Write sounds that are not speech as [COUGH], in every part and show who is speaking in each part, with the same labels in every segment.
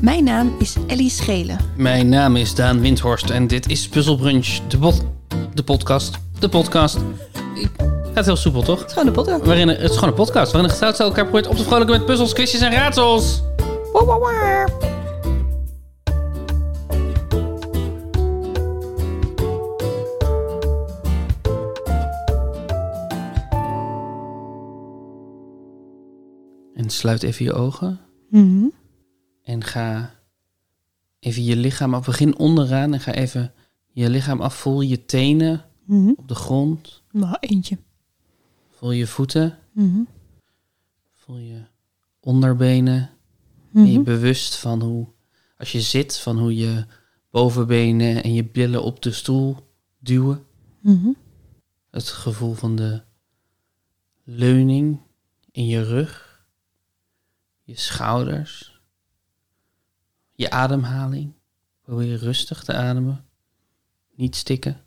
Speaker 1: Mijn naam is Ellie Schelen.
Speaker 2: Mijn naam is Daan Windhorst en dit is Puzzle Brunch, de, pod- de podcast. De podcast. Ik- Gaat heel soepel, toch?
Speaker 1: Het is gewoon de podcast.
Speaker 2: Waarin, het is gewoon een podcast waarin een gezellig elkaar probeert op te vrolijken met puzzels, quizjes en raadsels.
Speaker 1: Wow, wow, wow.
Speaker 2: En sluit even je ogen
Speaker 1: Mhm.
Speaker 2: en ga even je lichaam af. Begin onderaan en ga even je lichaam afvoelen. Je tenen
Speaker 1: Mhm.
Speaker 2: op de grond.
Speaker 1: Nou, eentje.
Speaker 2: Voel je voeten.
Speaker 1: Mhm.
Speaker 2: Voel je onderbenen.
Speaker 1: Mhm.
Speaker 2: Ben je bewust van hoe, als je zit, van hoe je bovenbenen en je billen op de stoel duwen.
Speaker 1: Mhm.
Speaker 2: Het gevoel van de leuning in je rug, je schouders, je ademhaling. Probeer rustig te ademen, niet stikken.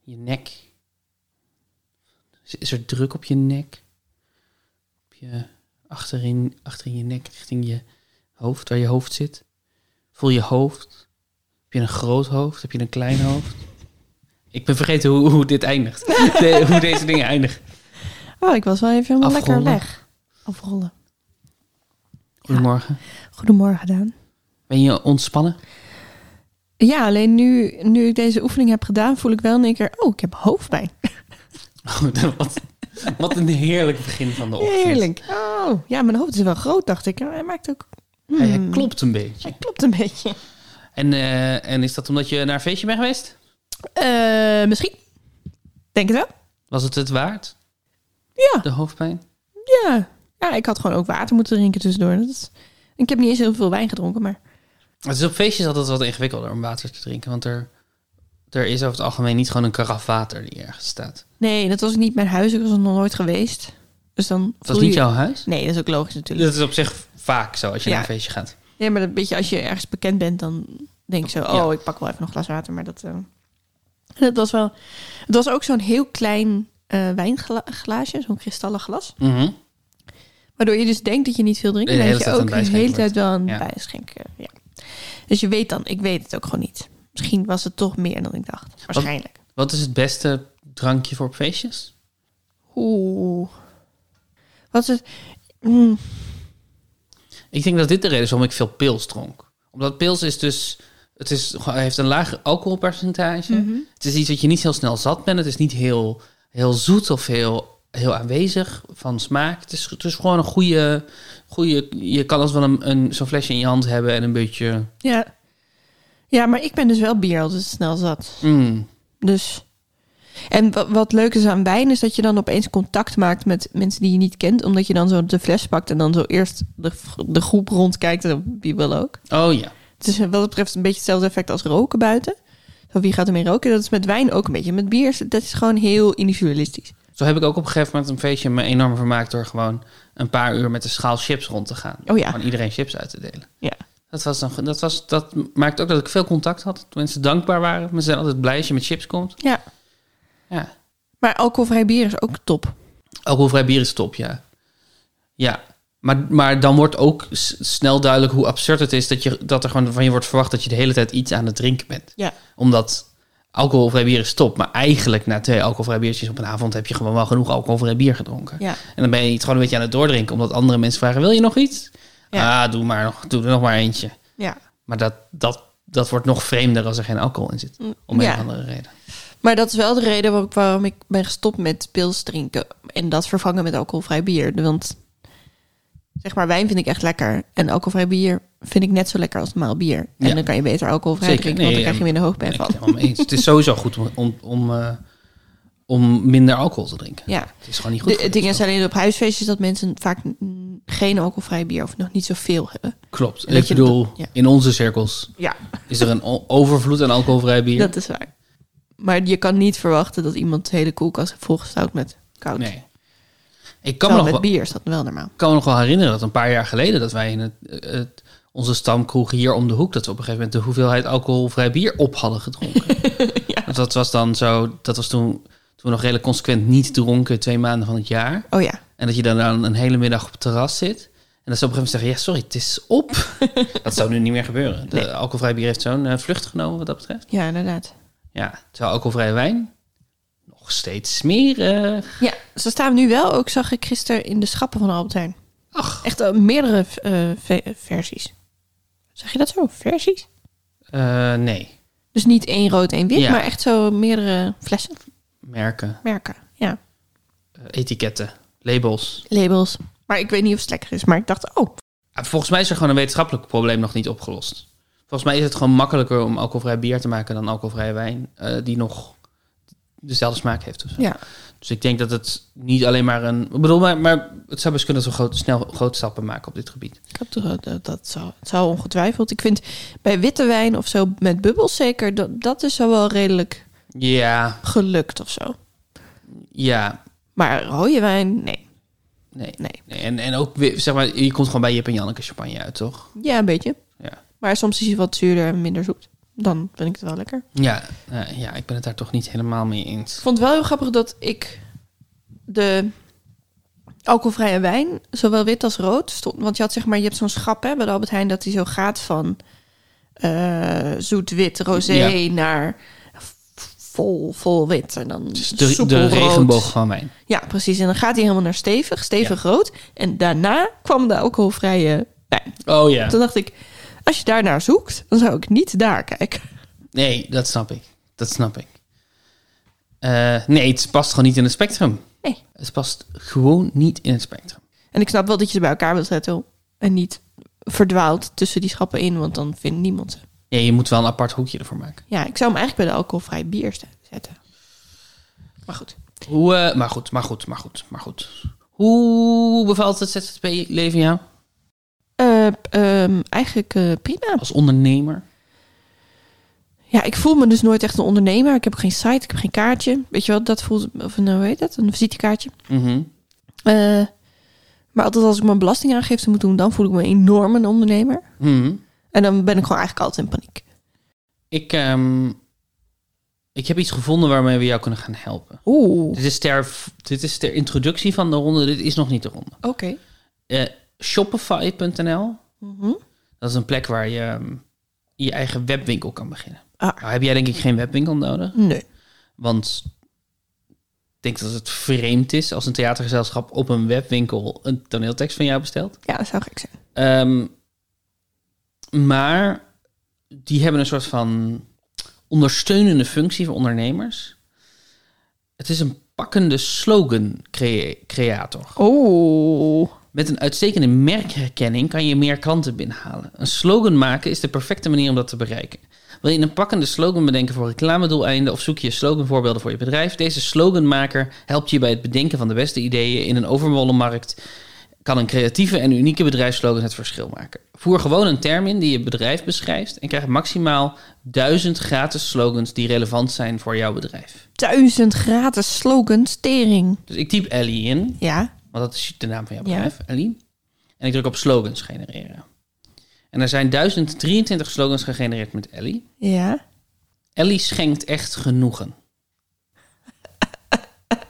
Speaker 2: Je nek. Is- Is er druk op je nek? Op je achterin, achterin je nek, richting je hoofd, waar je hoofd zit. Voel je hoofd. Heb je een groot hoofd? Heb je een klein hoofd? Ik ben vergeten hoe, hoe dit
Speaker 1: [LAUGHS]
Speaker 2: eindigt. De- hoe deze dingen eindigen.
Speaker 1: Oh, ik was wel even helemaal
Speaker 2: Afrollen.
Speaker 1: lekker weg. Afrollen.
Speaker 2: Goedemorgen.
Speaker 1: Goedemorgen, Daan.
Speaker 2: Ben je ontspannen?
Speaker 1: Ja, alleen nu, nu ik deze oefening heb gedaan, voel ik wel in één keer... Oh, ik heb hoofdpijn.
Speaker 2: [LAUGHS] Oh, wat, wat een heerlijk begin van de ochtend.
Speaker 1: Heerlijk. Oh, ja, mijn hoofd is wel groot, dacht ik. Maar Hij maakt ook...
Speaker 2: Hij, hij
Speaker 1: Hmm.
Speaker 2: klopt een beetje.
Speaker 1: Hij klopt een beetje.
Speaker 2: En, eh, en is dat omdat je naar een feestje bent geweest?
Speaker 1: Eh, misschien. Denk het wel.
Speaker 2: Was het het waard?
Speaker 1: Ja.
Speaker 2: De hoofdpijn?
Speaker 1: Ja. ja, ik had gewoon ook water moeten drinken tussendoor. Dat is... Ik heb niet eens heel veel wijn gedronken, maar...
Speaker 2: Het is op feestjes altijd wat ingewikkelder om water te drinken. Want er, er is over het algemeen niet gewoon een karaf water die ergens staat.
Speaker 1: Nee, dat was ook niet mijn huis. Ik was er nog nooit geweest. Dus dan
Speaker 2: Dat
Speaker 1: voel
Speaker 2: is niet
Speaker 1: je-
Speaker 2: jouw huis?
Speaker 1: Nee, dat is ook logisch natuurlijk.
Speaker 2: Dat is op zich vaak zo als je
Speaker 1: Ja.
Speaker 2: naar een feestje gaat.
Speaker 1: Nee, maar een beetje als je ergens bekend bent, dan denk ik zo... Oh, ik pak wel even nog een glas water, maar dat... eh, [LAUGHS] dat was wel... Het was ook zo'n heel klein eh wijnglaasje, zo'n kristallen glas.
Speaker 2: Mhm.
Speaker 1: Waardoor je dus denkt dat je niet veel drinkt,
Speaker 2: Nee, de
Speaker 1: maar dat
Speaker 2: hele
Speaker 1: je
Speaker 2: tijd
Speaker 1: ook
Speaker 2: aan het
Speaker 1: de hele
Speaker 2: bijschenken
Speaker 1: tijd wel een
Speaker 2: wordt. Ja.
Speaker 1: bijschenk... eh, ja. Dus je weet dan, ik weet het ook gewoon niet. Misschien was het toch meer dan ik dacht. Waarschijnlijk.
Speaker 2: Wat is het beste drankje voor op feestjes?
Speaker 1: Oeh. Wat is het... Mm,
Speaker 2: Ik denk dat dit de reden is waarom ik veel pils dronk. Omdat pils is dus... Het is, gewoon- heeft een lager alcoholpercentage.
Speaker 1: Mhm.
Speaker 2: Het is iets wat je niet heel snel zat bent. Het is niet heel, heel zoet of heel, heel aanwezig van smaak. Het is, het is gewoon een goede... goede je kan als wel een, een, zo'n flesje in je hand hebben en een beetje...
Speaker 1: Ja. Ja, maar ik ben dus wel bier altijd snel zat.
Speaker 2: mm,
Speaker 1: Dus. En wa- wat leuk is aan wijn is dat je dan opeens contact maakt met mensen die je niet kent. Omdat je dan zo de fles pakt en dan zo eerst de, v- de groep rondkijkt. en Wie wil ook.
Speaker 2: Oh ja.
Speaker 1: Het is wat dat betreft een beetje hetzelfde effect als roken buiten. Zo, wie gaat ermee roken? Dat is met wijn ook een beetje. Met bier is dat is gewoon heel individualistisch.
Speaker 2: Zo heb ik ook op een gegeven moment een feestje me enorm vermaakt... door gewoon een paar uur met een schaal chips rond te gaan.
Speaker 1: Oh ja.
Speaker 2: Gewoon iedereen chips uit te delen.
Speaker 1: Ja.
Speaker 2: Dat, was dan, dat, was, dat maakt ook dat ik veel contact had. Dat mensen dankbaar waren. Mensen zijn altijd blij als je met chips komt.
Speaker 1: ja.
Speaker 2: Ja.
Speaker 1: Maar alcoholvrij bier is ook top.
Speaker 2: Alcoholvrij bier is top, ja. Ja. Maar, maar dan wordt ook s- snel duidelijk hoe absurd het is... Dat, je, dat er gewoon van je wordt verwacht dat je de hele tijd iets aan het drinken bent.
Speaker 1: Ja.
Speaker 2: Omdat alcoholvrij bier is top. Maar eigenlijk na twee alcoholvrij biertjes op een avond... heb je gewoon wel genoeg alcoholvrij bier gedronken.
Speaker 1: Ja.
Speaker 2: En dan ben je het gewoon een beetje aan het doordrinken. Omdat andere mensen vragen, wil je nog iets?
Speaker 1: Ja.
Speaker 2: Ah, doe, maar nog, doe er nog maar eentje.
Speaker 1: Ja.
Speaker 2: Maar dat, dat, dat wordt nog vreemder als er geen alcohol in zit. Om
Speaker 1: Mm. ja.
Speaker 2: een of andere reden.
Speaker 1: Maar dat is wel de reden waar- waarom ik ben gestopt met pils drinken. En dat vervangen met alcoholvrij bier. Want zeg maar, wijn vind ik echt lekker. En alcoholvrij bier vind ik net zo lekker als normaal bier. En
Speaker 2: Ja.
Speaker 1: dan kan je beter alcoholvrij
Speaker 2: Zeker,
Speaker 1: drinken, want
Speaker 2: nee,
Speaker 1: dan krijg je
Speaker 2: ja,
Speaker 1: minder
Speaker 2: Ben
Speaker 1: hoogpijn
Speaker 2: ik
Speaker 1: van.
Speaker 2: het helemaal mee eens. Het is sowieso goed om, om, om, eh, om minder alcohol te drinken.
Speaker 1: Ja.
Speaker 2: Het is gewoon niet goed.
Speaker 1: De,
Speaker 2: voor
Speaker 1: het
Speaker 2: je
Speaker 1: ding is
Speaker 2: gestel.
Speaker 1: alleen op huisfeestjes dat mensen vaak mm, geen alcoholvrij bier of nog niet zoveel hebben.
Speaker 2: Klopt.
Speaker 1: dat
Speaker 2: Ik
Speaker 1: je-
Speaker 2: bedoel,
Speaker 1: ja.
Speaker 2: in onze cirkels
Speaker 1: Ja,
Speaker 2: is er een o- overvloed aan alcoholvrij bier.
Speaker 1: [LAUGHS] dat is waar. Maar je kan niet verwachten dat iemand de hele koelkast volgestouwd met koud.
Speaker 2: nee. Ik kan me,
Speaker 1: Terwijl
Speaker 2: nog
Speaker 1: met
Speaker 2: wel,
Speaker 1: bier is dat wel normaal.
Speaker 2: kan me nog wel herinneren dat een paar jaar geleden... dat wij in het, eh, het- onze stamkroeg hier om de hoek... dat we op een gegeven moment de hoeveelheid alcoholvrij bier op hadden gedronken. Want Dat was dan zo... Dat was toen, toen we nog redelijk consequent niet dronken... twee maanden van het jaar.
Speaker 1: Oh ja.
Speaker 2: En dat je dan, dan een hele middag op het terras zit. En dat ze op een gegeven moment zeggen, ja, sorry, het is op. dat zou nu niet meer gebeuren. De alcoholvrij bier heeft zo'n eh, vlucht genomen wat dat betreft.
Speaker 1: Ja, inderdaad.
Speaker 2: Ja, terwijl alcoholvrije wijn nog steeds smerig.
Speaker 1: Ja, ze staan nu wel ook, zag ik gisteren, in de schappen van Albert Heijn.
Speaker 2: Ach,
Speaker 1: Echt eh, meerdere eh, ve- versies. Zeg je dat zo? Versies?
Speaker 2: eh, nee.
Speaker 1: Dus niet één rood, één wit,
Speaker 2: Ja.
Speaker 1: maar echt zo meerdere flessen,
Speaker 2: Merken,
Speaker 1: merken. Ja,
Speaker 2: eh, etiketten, labels.
Speaker 1: labels. Maar ik weet niet of het lekker is, maar ik dacht, oh,
Speaker 2: Ah, Volgens mij is er gewoon een wetenschappelijk probleem nog niet opgelost. Volgens mij is het gewoon makkelijker om alcoholvrij bier te maken dan alcoholvrije wijn, eh, die nog dezelfde smaak heeft. Of zo.
Speaker 1: ja.
Speaker 2: Dus ik denk dat het niet alleen maar een. Ik bedoel, maar, maar het zou best kunnen dat we groot, snel grote stappen maken op dit gebied.
Speaker 1: Ik heb toch- eh, dat, dat zou, het zou ongetwijfeld. Ik vind bij witte wijn of zo met bubbels zeker, dat, dat is zo wel redelijk
Speaker 2: Ja,
Speaker 1: gelukt of zo.
Speaker 2: ja.
Speaker 1: Maar rode wijn, nee.
Speaker 2: Nee.
Speaker 1: Nee.
Speaker 2: En, en ook weer, zeg maar, je komt gewoon bij Jip en Janneke champagne uit, toch?
Speaker 1: Ja, een beetje.
Speaker 2: Ja.
Speaker 1: Maar soms is hij wat zuurder en minder zoet. Dan vind ik het wel lekker.
Speaker 2: Ja, eh, ja, ik ben het daar toch niet helemaal mee eens.
Speaker 1: Ik vond het wel heel grappig dat ik de alcoholvrije wijn, zowel wit als rood, stond. Want je had zeg maar, je hebt zo'n schap hè, bij de Albert Heijn, dat die zo gaat van eh, zoet wit, rosé
Speaker 2: Ja.
Speaker 1: naar vol, vol wit. En dan
Speaker 2: Dus de,
Speaker 1: soepel
Speaker 2: de
Speaker 1: rood.
Speaker 2: regenboog van wijn.
Speaker 1: Ja, precies. En dan gaat hij helemaal naar stevig, stevig rood. En daarna kwam de alcoholvrije wijn.
Speaker 2: Oh ja.
Speaker 1: Toen dacht ik, als je daarnaar zoekt, dan zou ik niet daar kijken.
Speaker 2: Nee, dat snap ik. Dat snap ik. Eh, nee, het past gewoon niet in het spectrum.
Speaker 1: Nee.
Speaker 2: Het past gewoon niet in het spectrum.
Speaker 1: En ik snap wel dat je ze bij elkaar wilt zetten. En niet verdwaald tussen die schappen in, want dan vindt niemand ze.
Speaker 2: Ja, je moet wel een apart hoekje ervoor maken.
Speaker 1: Ja, ik zou hem eigenlijk bij de alcoholvrij bier ste- zetten. Maar goed.
Speaker 2: Hoe, eh, maar goed, maar goed, maar goed, maar goed. Hoe bevalt het ZZP-leven jou
Speaker 1: Eh, ehm, eigenlijk eh, prima.
Speaker 2: als ondernemer?
Speaker 1: Ja, ik voel me dus nooit echt een ondernemer. Ik heb geen site, ik heb geen kaartje. Weet je wel, dat voelt, of nou hoe heet dat, een visitekaartje.
Speaker 2: Mhm.
Speaker 1: Eh, maar altijd als ik mijn belastingaangifte moet doen, dan voel ik me enorm een ondernemer.
Speaker 2: Mhm.
Speaker 1: En dan ben ik gewoon eigenlijk altijd in paniek.
Speaker 2: Ik, ehm, ik heb iets gevonden waarmee we jou kunnen gaan helpen.
Speaker 1: Oeh,
Speaker 2: Dit is ter, dit is ter introductie van de ronde. Dit is nog niet de ronde.
Speaker 1: oké.
Speaker 2: Eh, Shopify.nl
Speaker 1: Mhm.
Speaker 2: Dat is een plek waar je ehm, je eigen webwinkel kan beginnen.
Speaker 1: Ah.
Speaker 2: Nou, heb jij denk ik geen webwinkel nodig?
Speaker 1: Nee.
Speaker 2: Want ik denk dat het vreemd is als een theatergezelschap op een webwinkel een toneeltekst van jou bestelt.
Speaker 1: Ja, dat zou gek zijn.
Speaker 2: Ehm, maar die hebben een soort van ondersteunende functie voor ondernemers. Het is een pakkende slogan crea- creator.
Speaker 1: Oeh.
Speaker 2: Met een uitstekende merkherkenning kan je meer klanten binnenhalen. Een slogan maken is de perfecte manier om dat te bereiken. Wil je een pakkende slogan bedenken voor reclamedoeleinden of zoek je sloganvoorbeelden voor je bedrijf? Deze sloganmaker helpt je bij het bedenken van de beste ideeën in een overwonnen markt. Kan een creatieve en unieke bedrijfsslogan het verschil maken? Voer gewoon een term in die je bedrijf beschrijft en krijg maximaal 1000 gratis slogans die relevant zijn voor jouw bedrijf.
Speaker 1: Duizend gratis slogans, tering.
Speaker 2: Dus ik typ Ellie in.
Speaker 1: Ja.
Speaker 2: Want dat is de naam van jouw
Speaker 1: Ja.
Speaker 2: bedrijf, Ellie. En ik druk op slogans genereren. En er zijn 1023 slogans gegenereerd met Ellie.
Speaker 1: Ja.
Speaker 2: Ellie schenkt echt genoegen.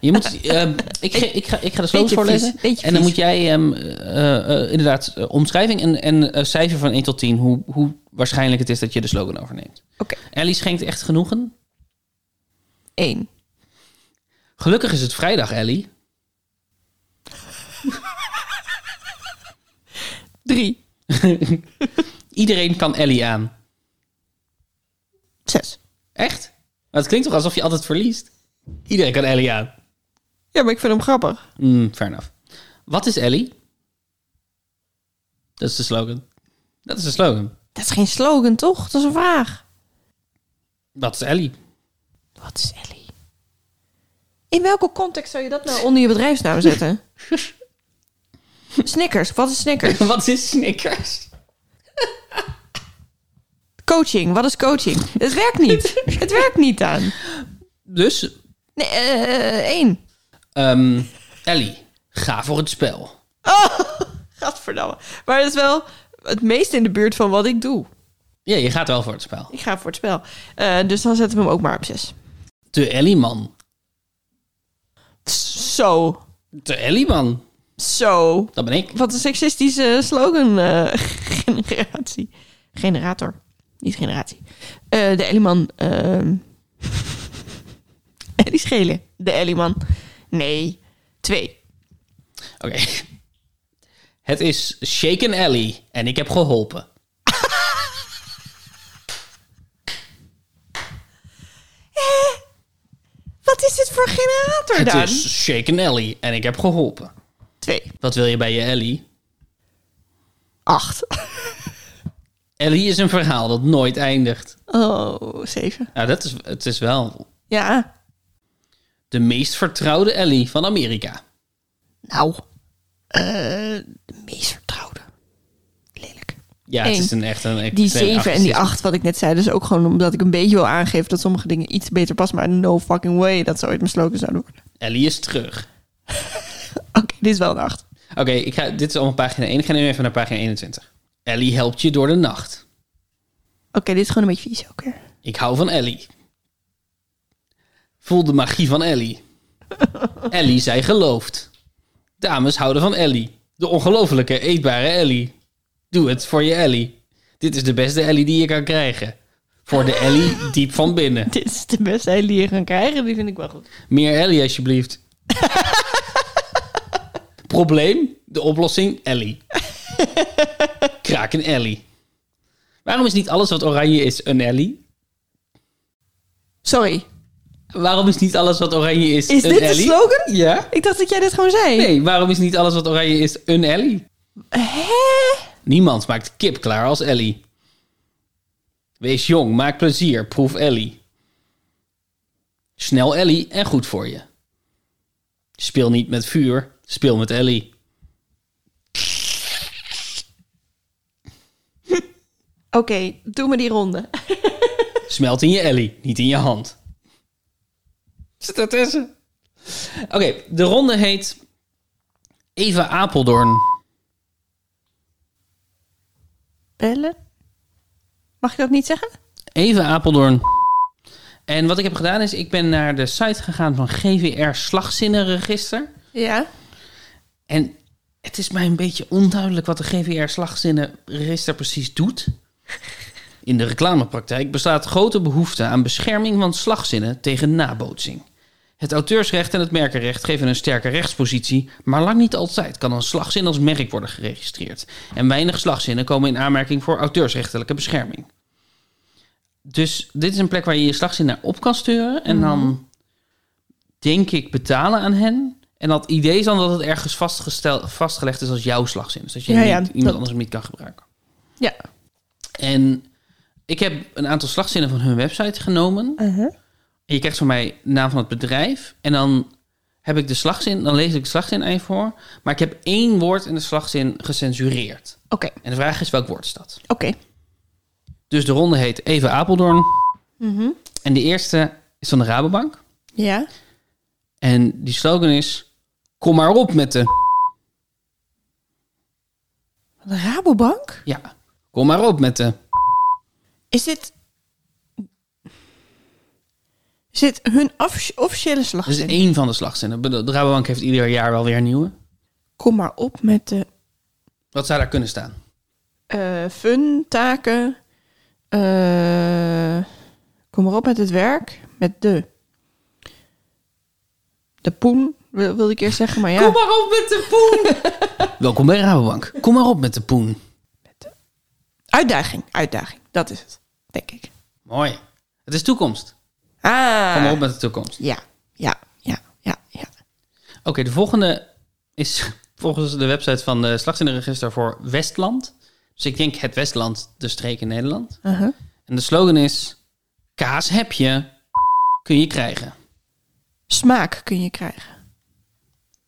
Speaker 2: Je moet, ehm, ik, ge- ik, ga, ik ga de slogans
Speaker 1: Beetje
Speaker 2: voorlezen.
Speaker 1: vies, beetje
Speaker 2: En dan
Speaker 1: vies.
Speaker 2: moet jij ehm, eh, eh, inderdaad eh, omschrijving en, en eh, cijfer van 1 tot 10. Hoe, hoe waarschijnlijk het is dat je de slogan overneemt.
Speaker 1: Oké.
Speaker 2: Ellie schenkt echt genoegen.
Speaker 1: Eén.
Speaker 2: Gelukkig is het vrijdag, Ellie.
Speaker 1: Drie.
Speaker 2: Iedereen kan Ellie aan.
Speaker 1: Zes.
Speaker 2: Echt? Maar het klinkt toch alsof je altijd verliest? Iedereen kan Ellie aan.
Speaker 1: Ja, maar ik vind hem grappig.
Speaker 2: Mm, fair enough. Wat is Ellie? Dat is de slogan. Dat is de slogan.
Speaker 1: Dat is geen slogan, toch? Dat is een vraag.
Speaker 2: Wat is Ellie? [LAUGHS]
Speaker 1: Wat is Ellie? In welke context zou je dat nou onder je bedrijfsnaam [LAUGHS] zetten? Snickers. Wat is Snickers?
Speaker 2: Wat is Snickers?
Speaker 1: Coaching. Wat is coaching? Het werkt [LAUGHS] niet. Het werkt niet aan.
Speaker 2: Dus,
Speaker 1: Nee, eh, één.
Speaker 2: ehm, Ellie, ga voor het spel.
Speaker 1: Gadverdamme. Maar dat is wel het meest in de buurt van wat ik doe.
Speaker 2: Ja, je gaat wel voor het spel.
Speaker 1: Ik ga voor het spel. Eh, dus dan zetten we hem ook maar op zes.
Speaker 2: De Ellie-man.
Speaker 1: Zo.
Speaker 2: De Ellie-man.
Speaker 1: Zo.
Speaker 2: Dat ben ik.
Speaker 1: Wat een seksistische slogan. eh, generatie. Generator. Niet generatie. Eh, de Elliman. ehm [LAUGHS] die schelen. De Elliman. Nee. Twee.
Speaker 2: Oké. [LAUGHS] Het is Shaken Alley en ik heb geholpen.
Speaker 1: Eh, Wat is dit voor generator
Speaker 2: Het
Speaker 1: dan?
Speaker 2: is Shaken Alley en ik heb geholpen.
Speaker 1: Twee.
Speaker 2: Wat wil je bij je Alley?
Speaker 1: Acht. [LAUGHS]
Speaker 2: Alley is een verhaal dat nooit eindigt.
Speaker 1: Oh, zeven.
Speaker 2: Nou, dat is, het is wel
Speaker 1: Ja.
Speaker 2: de meest vertrouwde Alley van Amerika.
Speaker 1: Nou. eh, de meest vertrouwde. Lelijk.
Speaker 2: Ja, het
Speaker 1: Eén.
Speaker 2: is een echt een...
Speaker 1: Die
Speaker 2: extreem
Speaker 1: 7 en die
Speaker 2: activisme.
Speaker 1: 8, wat ik net zei, dus ook gewoon omdat ik een beetje wil aangeven dat sommige dingen iets beter passen. Maar no fucking way dat ze ooit mijn slogan zouden worden. [LAUGHS]
Speaker 2: Ellie is terug.
Speaker 1: Oké, dit is wel een 8.
Speaker 2: Oké, ik ga- dit is allemaal pagina 1. Ik ga nu even naar pagina 21. Ellie helpt je door de nacht.
Speaker 1: Oké, dit is gewoon een beetje vies ook weer.
Speaker 2: Ik hou van Ellie. Voel de magie van Ellie. Ellie, zij gelooft. Dames houden van Ellie. De ongelofelijke, eetbare Ellie. Doe het voor je Ellie. Dit is de beste Ellie die je kan krijgen. Voor de Ellie diep van
Speaker 1: [LAUGHS]
Speaker 2: binnen.
Speaker 1: Dit is de beste hele die je kan krijgen, die vind ik wel goed.
Speaker 2: Meer
Speaker 1: [LAUGHS]
Speaker 2: Ellie alsjeblieft. Probleem, de oplossing Ellie. Kraak een Ellie. Waarom is niet alles wat oranje is een Ellie?
Speaker 1: Sorry,
Speaker 2: Waarom is niet alles wat oranje is,
Speaker 1: is
Speaker 2: een
Speaker 1: dit de
Speaker 2: Ellie?
Speaker 1: slogan?
Speaker 2: Ja.
Speaker 1: Ik dacht dat jij dit gewoon zei.
Speaker 2: Nee, waarom is niet alles wat oranje is een Ellie?
Speaker 1: Hè?
Speaker 2: Niemand maakt kip klaar als Ellie. Wees jong, maak plezier, proef Ellie. Snel Ellie en goed voor je. Speel niet met vuur, speel met Ellie.
Speaker 1: Oké, doe me die ronde.
Speaker 2: Smelt in je Ellie, niet in je hand. Zit daartussen? Oké, de ronde heet Eva Apeldoorn.
Speaker 1: Bellen? Mag ik dat niet zeggen?
Speaker 2: Even Apeldoorn. En wat ik heb gedaan is, ik ben naar de site gegaan van GVR Slagzinnenregister.
Speaker 1: Ja.
Speaker 2: En het is mij een beetje onduidelijk wat de GVR Slagzinnenregister precies doet. In de reclamepraktijk bestaat grote behoefte aan bescherming van slagzinnen tegen nabootsing. Het auteursrecht en het merkenrecht geven een sterke rechtspositie, maar lang niet altijd kan een slagzin als merk worden geregistreerd. En weinig slagzinnen komen in aanmerking voor auteursrechtelijke bescherming. Dus dit is een plek waar je je slagzin naar op kan sturen en
Speaker 1: Mhm.
Speaker 2: dan denk ik betalen aan hen. En dat idee is dan dat het ergens vastgesteld, vastgelegd is als jouw slagzin. Dus dat je
Speaker 1: Ja, ja,
Speaker 2: niet, iemand
Speaker 1: dat-
Speaker 2: anders hem niet kan gebruiken.
Speaker 1: Ja.
Speaker 2: En ik heb een aantal slagzinnen van hun website genomen.
Speaker 1: Uh-huh.
Speaker 2: En je krijgt van mij naam van het bedrijf. En dan heb ik de slagzin, dan lees ik de slagzin aan je voor. Maar ik heb één woord in de slagzin gecensureerd.
Speaker 1: Oké,
Speaker 2: En de vraag is, welk woord is dat?
Speaker 1: oké.
Speaker 2: Dus de ronde heet Even Apeldoorn. En de eerste is van de Rabobank.
Speaker 1: Ja.
Speaker 2: En die slogan is... Kom maar op met de...
Speaker 1: Van de Rabobank?
Speaker 2: Ja, kom maar op met de...
Speaker 1: Is dit... Is dit hun offici- officiële
Speaker 2: Dat is
Speaker 1: slagzin?
Speaker 2: één van de slagzinnen. De Rabobank heeft ieder jaar wel weer een nieuwe.
Speaker 1: Kom maar op met de
Speaker 2: Wat zou daar kunnen staan?
Speaker 1: eh, fun, taken. eh, kom maar op met het werk. Met de... De poen, wil- wilde ik eerst zeggen, maar ja.
Speaker 2: Kom maar op met de
Speaker 1: [LAUGHS]
Speaker 2: poen. Welkom bij Rabobank. Kom maar op met de poen.
Speaker 1: Uitdaging, uitdaging. Dat is het, denk ik.
Speaker 2: Mooi. Het is toekomst.
Speaker 1: Ah.
Speaker 2: Kom maar op met de toekomst.
Speaker 1: Ja, ja, ja, ja, ja.
Speaker 2: Oké, de volgende is [LAUGHS] volgens de website van de slagzinnenregister voor Westland. Dus ik denk het Westland, de streek in Nederland.
Speaker 1: Uh-huh.
Speaker 2: En de slogan is... Kaas heb je, kun je krijgen.
Speaker 1: Smaak kun je krijgen.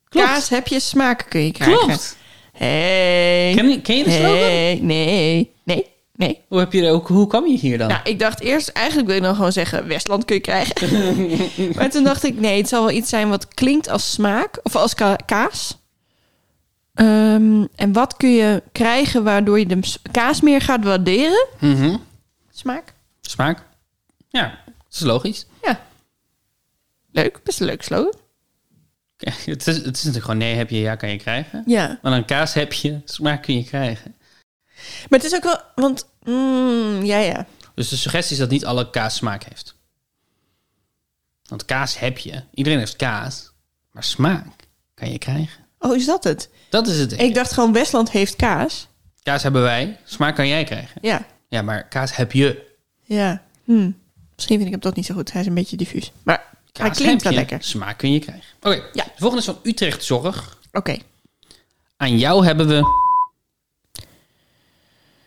Speaker 2: Klopt.
Speaker 1: Kaas heb je, smaak kun je krijgen.
Speaker 2: Klopt.
Speaker 1: Hey.
Speaker 2: Ken, je- ken je de slogan? Oh.
Speaker 1: Hey. Nee, nee, nee.
Speaker 2: Hoe, heb je, de- hoe, hoe kwam je hier dan?
Speaker 1: Nou, ik dacht eerst, eigenlijk wil ik dan gewoon zeggen, Westland kun je krijgen.
Speaker 2: [LAUGHS]
Speaker 1: maar toen dacht ik, nee, het zal wel iets zijn wat klinkt als smaak, of als ka- kaas. Ehm, en wat kun je krijgen waardoor je de s- kaas meer gaat waarderen?
Speaker 2: Mhm.
Speaker 1: Smaak.
Speaker 2: Smaak? Ja, dat is logisch. [LAUGHS]
Speaker 1: Ja. Leuk, best een leuk slogan.
Speaker 2: Kijk, het, is, het is natuurlijk gewoon nee heb je, ja kan je krijgen.
Speaker 1: Ja.
Speaker 2: Maar dan kaas heb je, smaak kun je krijgen.
Speaker 1: Maar het is ook wel, want mm, ja, ja.
Speaker 2: Dus de suggestie is dat niet alle kaas smaak heeft. Want kaas heb je. Iedereen heeft kaas. Maar smaak kan je krijgen.
Speaker 1: Oh, is dat het?
Speaker 2: Dat is het. ding.
Speaker 1: Ik dacht gewoon Westland heeft kaas.
Speaker 2: Kaas hebben wij. Smaak kan jij krijgen.
Speaker 1: Ja,
Speaker 2: Ja, maar kaas heb je.
Speaker 1: ja. Hm. Misschien vind ik hem toch niet zo goed. Hij is een beetje diffuus. Maar hij
Speaker 2: Kaas
Speaker 1: klinkt wel
Speaker 2: heb je.
Speaker 1: lekker.
Speaker 2: Smaak kun je krijgen. Oké,
Speaker 1: Ja.
Speaker 2: de volgende is van Utrecht Zorg.
Speaker 1: Oké.
Speaker 2: Aan jou hebben we...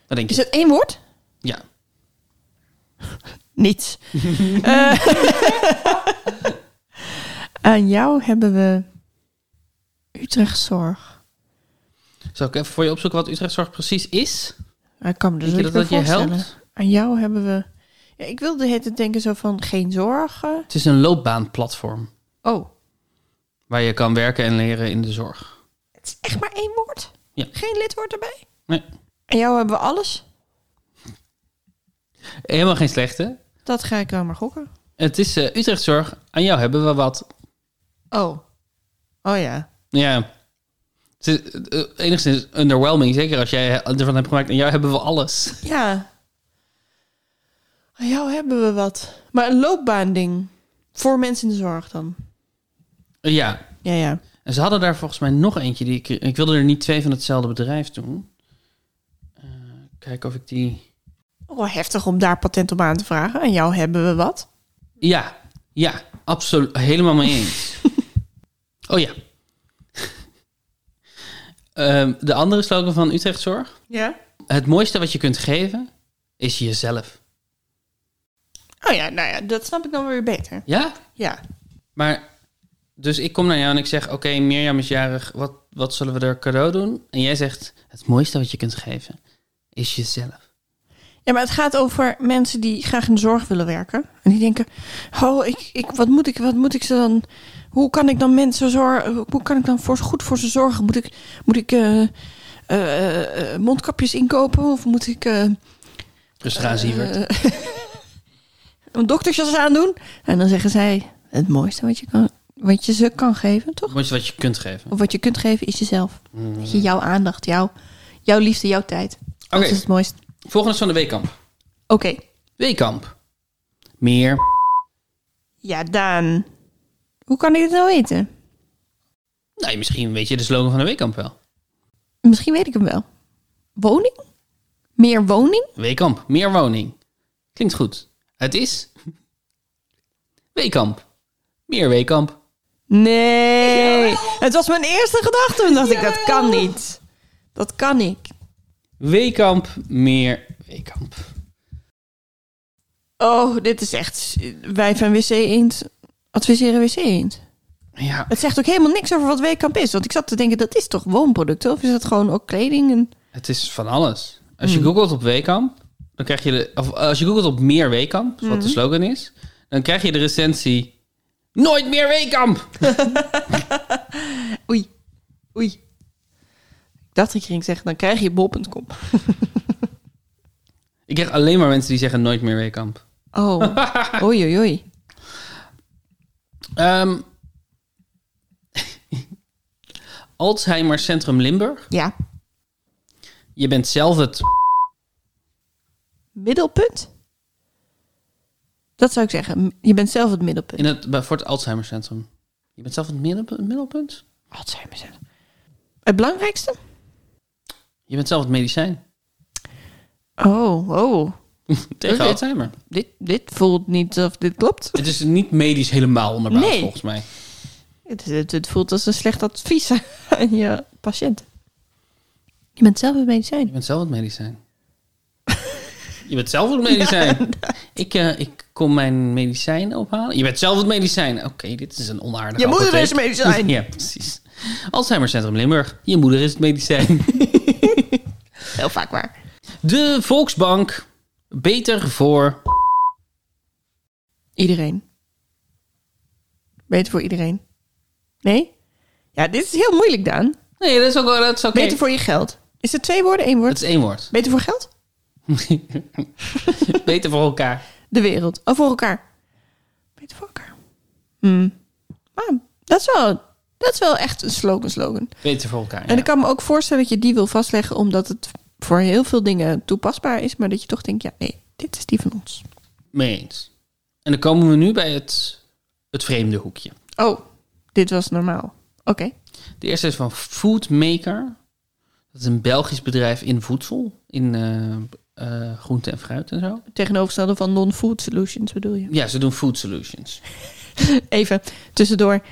Speaker 2: Wat denk
Speaker 1: Is
Speaker 2: je?
Speaker 1: het één woord?
Speaker 2: Ja. [LAUGHS]
Speaker 1: Niets. Eh, aan jou hebben we Utrechtszorg.
Speaker 2: Zal ik even voor je opzoeken wat Utrecht Zorg precies is?
Speaker 1: Ik kan me dus
Speaker 2: Denk je
Speaker 1: niet
Speaker 2: dat dat je
Speaker 1: meer voorstellen.
Speaker 2: helpt?
Speaker 1: Aan jou hebben we... Ja, ik wilde het denken zo van geen zorgen.
Speaker 2: Het is een loopbaanplatform
Speaker 1: Oh,
Speaker 2: waar je kan werken en leren in de zorg.
Speaker 1: het is echt maar één woord.
Speaker 2: Ja.
Speaker 1: Geen lidwoord erbij.
Speaker 2: Nee,
Speaker 1: Aan jou hebben we alles.
Speaker 2: helemaal geen slechte.
Speaker 1: Dat ga ik wel maar gokken.
Speaker 2: Het is eh, Utrecht Zorg. Aan jou hebben we wat.
Speaker 1: Oh. Oh ja.
Speaker 2: Ja. Het is, eh, enigszins underwhelming, zeker als jij ervan hebt gemaakt. Aan jou hebben we alles.
Speaker 1: Ja. Aan jou hebben we wat. Maar een loopbaanding. Voor mensen in de zorg dan.
Speaker 2: Eh, ja.
Speaker 1: Ja, ja.
Speaker 2: En ze hadden daar volgens mij nog eentje. Die ik, ik wilde er niet twee van hetzelfde bedrijf doen. Eh, kijken of ik die.
Speaker 1: Oh, heftig om daar patent op aan te vragen. Aan jou hebben we wat.
Speaker 2: Ja, ja, absoluut. Helemaal mee eens. oh ja. [LAUGHS] Ehm, de andere slogan van Utrecht Zorg.
Speaker 1: Ja.
Speaker 2: Het mooiste wat je kunt geven is jezelf.
Speaker 1: Oh ja, nou ja, dat snap ik dan weer beter.
Speaker 2: Ja?
Speaker 1: Ja.
Speaker 2: Maar, dus ik kom naar jou en ik zeg: Oké, Mirjam is jarig, wat, wat zullen we er cadeau doen? En jij zegt: Het mooiste wat je kunt geven is jezelf.
Speaker 1: Ja, maar het gaat over mensen die graag in de zorg willen werken. En die denken, oh, ik, ik, wat, moet ik, wat moet ik ze dan... Hoe kan ik dan mensen zorgen... Hoe kan ik dan voor, goed voor ze zorgen? Moet ik, moet ik eh, eh, eh, mondkapjes inkopen? Of moet ik eh,
Speaker 2: Dus gaan Sievert.
Speaker 1: eh, [LAUGHS] een doktersjas aandoen? En dan zeggen zij, het mooiste wat je, kan, wat je ze kan geven, toch?
Speaker 2: het mooiste wat je kunt geven.
Speaker 1: Of wat je kunt geven is jezelf.
Speaker 2: Mm.
Speaker 1: Dat je jouw aandacht, jouw, jouw liefde, jouw tijd. Dat
Speaker 2: Oké.
Speaker 1: is het mooiste.
Speaker 2: Volgende is van de Weekamp.
Speaker 1: Oké.
Speaker 2: Weekamp. Meer.
Speaker 1: Ja, Daan. Hoe kan ik het nou weten?
Speaker 2: Nou, misschien weet je de slogan van de Weekamp wel.
Speaker 1: Misschien weet ik hem wel. Woning? Meer woning?
Speaker 2: Weekamp. Meer woning. Klinkt goed. Het is. Weekamp. Meer Weekamp.
Speaker 1: Nee. Het was mijn eerste gedachte. Toen dacht ik, dat kan niet. Dat kan ik.
Speaker 2: Weekamp. Meer Weekamp.
Speaker 1: Oh, dit is echt... s- Wij van WC Eend adviseren WC Eend.
Speaker 2: Ja.
Speaker 1: Het zegt ook helemaal niks over wat Weekamp is. Want ik zat te denken, dat is toch woonproducten? Of is dat gewoon ook kleding? En...
Speaker 2: Het is van alles. Als je googelt op Weekamp, dan krijg je de. Of eh, als je googelt op meer Weekamp, wat de slogan is, dan krijg je de recensie. Nooit meer Weekamp!
Speaker 1: Oei. Oei. Ik dacht dat je ging zeggen, dan krijg je bol.com.
Speaker 2: Ik krijg alleen maar mensen die zeggen nooit meer Weekamp.
Speaker 1: Oh. Oei, oei, oei.
Speaker 2: Ehm [LAUGHS] Alzheimer Centrum Limburg.
Speaker 1: Ja.
Speaker 2: Je bent zelf het.
Speaker 1: middelpunt? Dat zou ik zeggen. Je bent zelf het middelpunt.
Speaker 2: In het, voor het Alzheimer Centrum. Je bent zelf het middelpu- middelpunt?
Speaker 1: Wat zijn we zelf? Het belangrijkste?
Speaker 2: Je bent zelf het medicijn.
Speaker 1: Oh, oh.
Speaker 2: Tegen
Speaker 1: Oké.
Speaker 2: Alzheimer.
Speaker 1: Dit, dit voelt niet of dit klopt.
Speaker 2: Het is niet medisch helemaal onderbouwd,
Speaker 1: Nee.
Speaker 2: volgens mij.
Speaker 1: Het, het, het voelt als een slecht advies [LAUGHS] aan je patiënt. Je bent zelf het
Speaker 2: Je
Speaker 1: medicijn.
Speaker 2: bent zelf het medicijn. [LAUGHS] je bent zelf het medicijn. ik, eh, ik kom mijn medicijn ophalen. Je bent zelf het medicijn. Oké, dit is een onaardige
Speaker 1: Je moeder
Speaker 2: apotheek.
Speaker 1: is het medicijn.
Speaker 2: [LAUGHS] ja, precies. Alzheimer Centrum Limburg. Je moeder is het
Speaker 1: [LAUGHS]
Speaker 2: medicijn.
Speaker 1: Heel vaak waar.
Speaker 2: De Volksbank. Beter voor...
Speaker 1: Iedereen. Beter voor iedereen. Nee? Ja, dit is heel moeilijk, Daan.
Speaker 2: Nee, dat is ook wel... Dat is oké.
Speaker 1: Beter voor je geld. Is het twee woorden, één woord?
Speaker 2: Dat is één woord.
Speaker 1: Beter voor geld?
Speaker 2: Beter voor elkaar.
Speaker 1: de wereld. Oh, voor elkaar. Beter voor elkaar. Hmm. Maar dat is wel Dat is wel echt een slogan slogan.
Speaker 2: Beter voor elkaar.
Speaker 1: En
Speaker 2: ja.
Speaker 1: ik kan me ook voorstellen dat je die wil vastleggen omdat het voor heel veel dingen toepasbaar is, maar dat je toch denkt, ja, nee, dit is die van ons.
Speaker 2: Mee eens. En dan komen we nu bij het, het vreemde hoekje.
Speaker 1: Oh, dit was normaal. Oké.
Speaker 2: De eerste is van Foodmaker. Dat is een Belgisch bedrijf in voedsel, in eh, eh, groente en fruit en zo.
Speaker 1: Tegenovergestelde van non-food solutions bedoel je.
Speaker 2: Ja, ze doen food solutions.
Speaker 1: [LAUGHS] Even tussendoor.